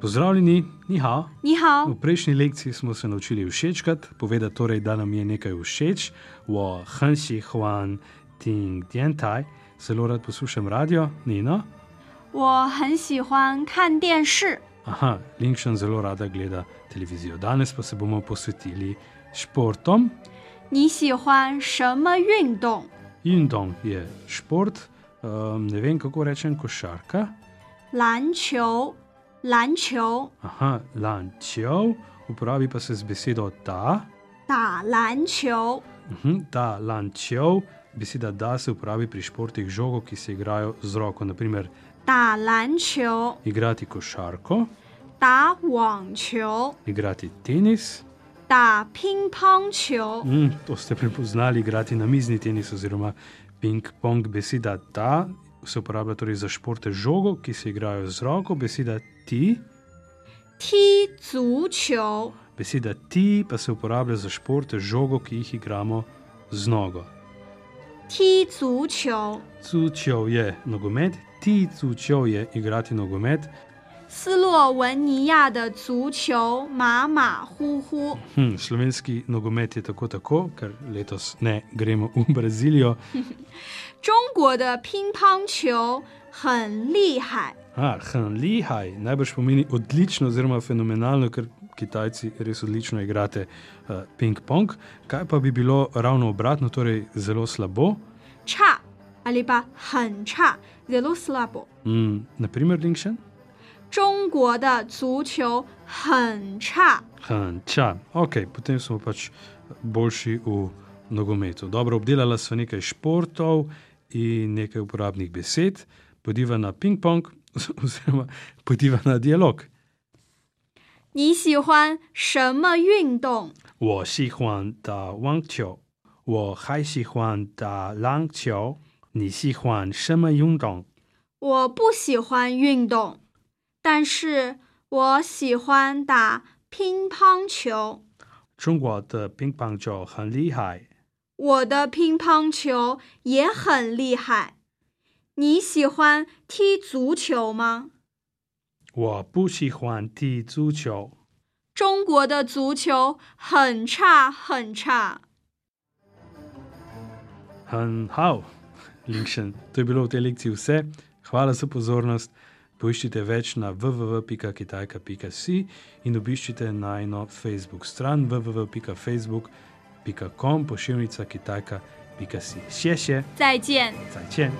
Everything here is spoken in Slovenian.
Pozdravljeni, ni hao. Ni hao. V prejšnji lekciji smo se naučili všečkati, povedati torej, da nam je nekaj všeč, wo hen xi huan ting dian tai. Zelo rad poslušam radio, Nino. 我很喜欢看电视， Aha, Linkšen zelo rada gleda televizijo. Danes pa se bomo posvetili športom. 你喜欢什么运动？ Indom je šport, um, ne vem kako rečem, košarka. 篮球，篮球， Aha, lančev, uporabi pa se z besedo da. 打篮球， Uhum, da, lančev, beseda da se uporabi pri športih žogo, ki se igrajo z roko, naprimer 打篮球， igrati košarko, 打网球， igrati tenis. 打乒乓球， Mm, to ste prepoznali, igrati namizni tenis oziroma ping-pong. Beseda da se uporablja torej za športe žogo, ki se igrajo z roko, beseda ti. 踢足球， Beseda ti pa se uporablja za športe žogo, ki jih igramo z nogo. 踢足球， Cučev je nogomet, ti cučev je igrati nogomet. 斯洛文尼亚的足球马马虎虎， Hm, slovenski nogomet je tako tako, ker letos ne gremo v Brazilijo. 中国的乒乓球很厉害。 Ah, Hanlihaj najbrž pomeni odlično, oziroma fenomenalno, ker Kitajci res odlično igrate uh, ping-pong. Kaj pa bi bilo ravno obratno, torej zelo slabo? 差，阿里巴很差，zelo slabo。 Mm, naprimer, Linkšen? 中国的足球很差。 Hanča. Ok, potem smo pač boljši v nogometu. Dobro, obdelala sva nekaj športov in nekaj uporabnih besed, podiva na ping-pong, oziroma podiva na dialog. 你喜欢什么运动？我喜欢打网球，我还喜欢打篮球。你喜欢什么运动？我不喜欢运动，但是我喜欢打乒乓球。中国的乒乓球很厉害。我的乒乓球也很厉害。你喜欢踢足球吗？我不喜欢踢足球。中国的足球很差很差。很好，林晨，to je bilo v tej lekciji vse. Hvala za pozornost. Poiščite več na www.kitajka.si in obiščite najno Facebook stran www.facebook.com pošiljnica kitajka.si. Še še, 再见。再见。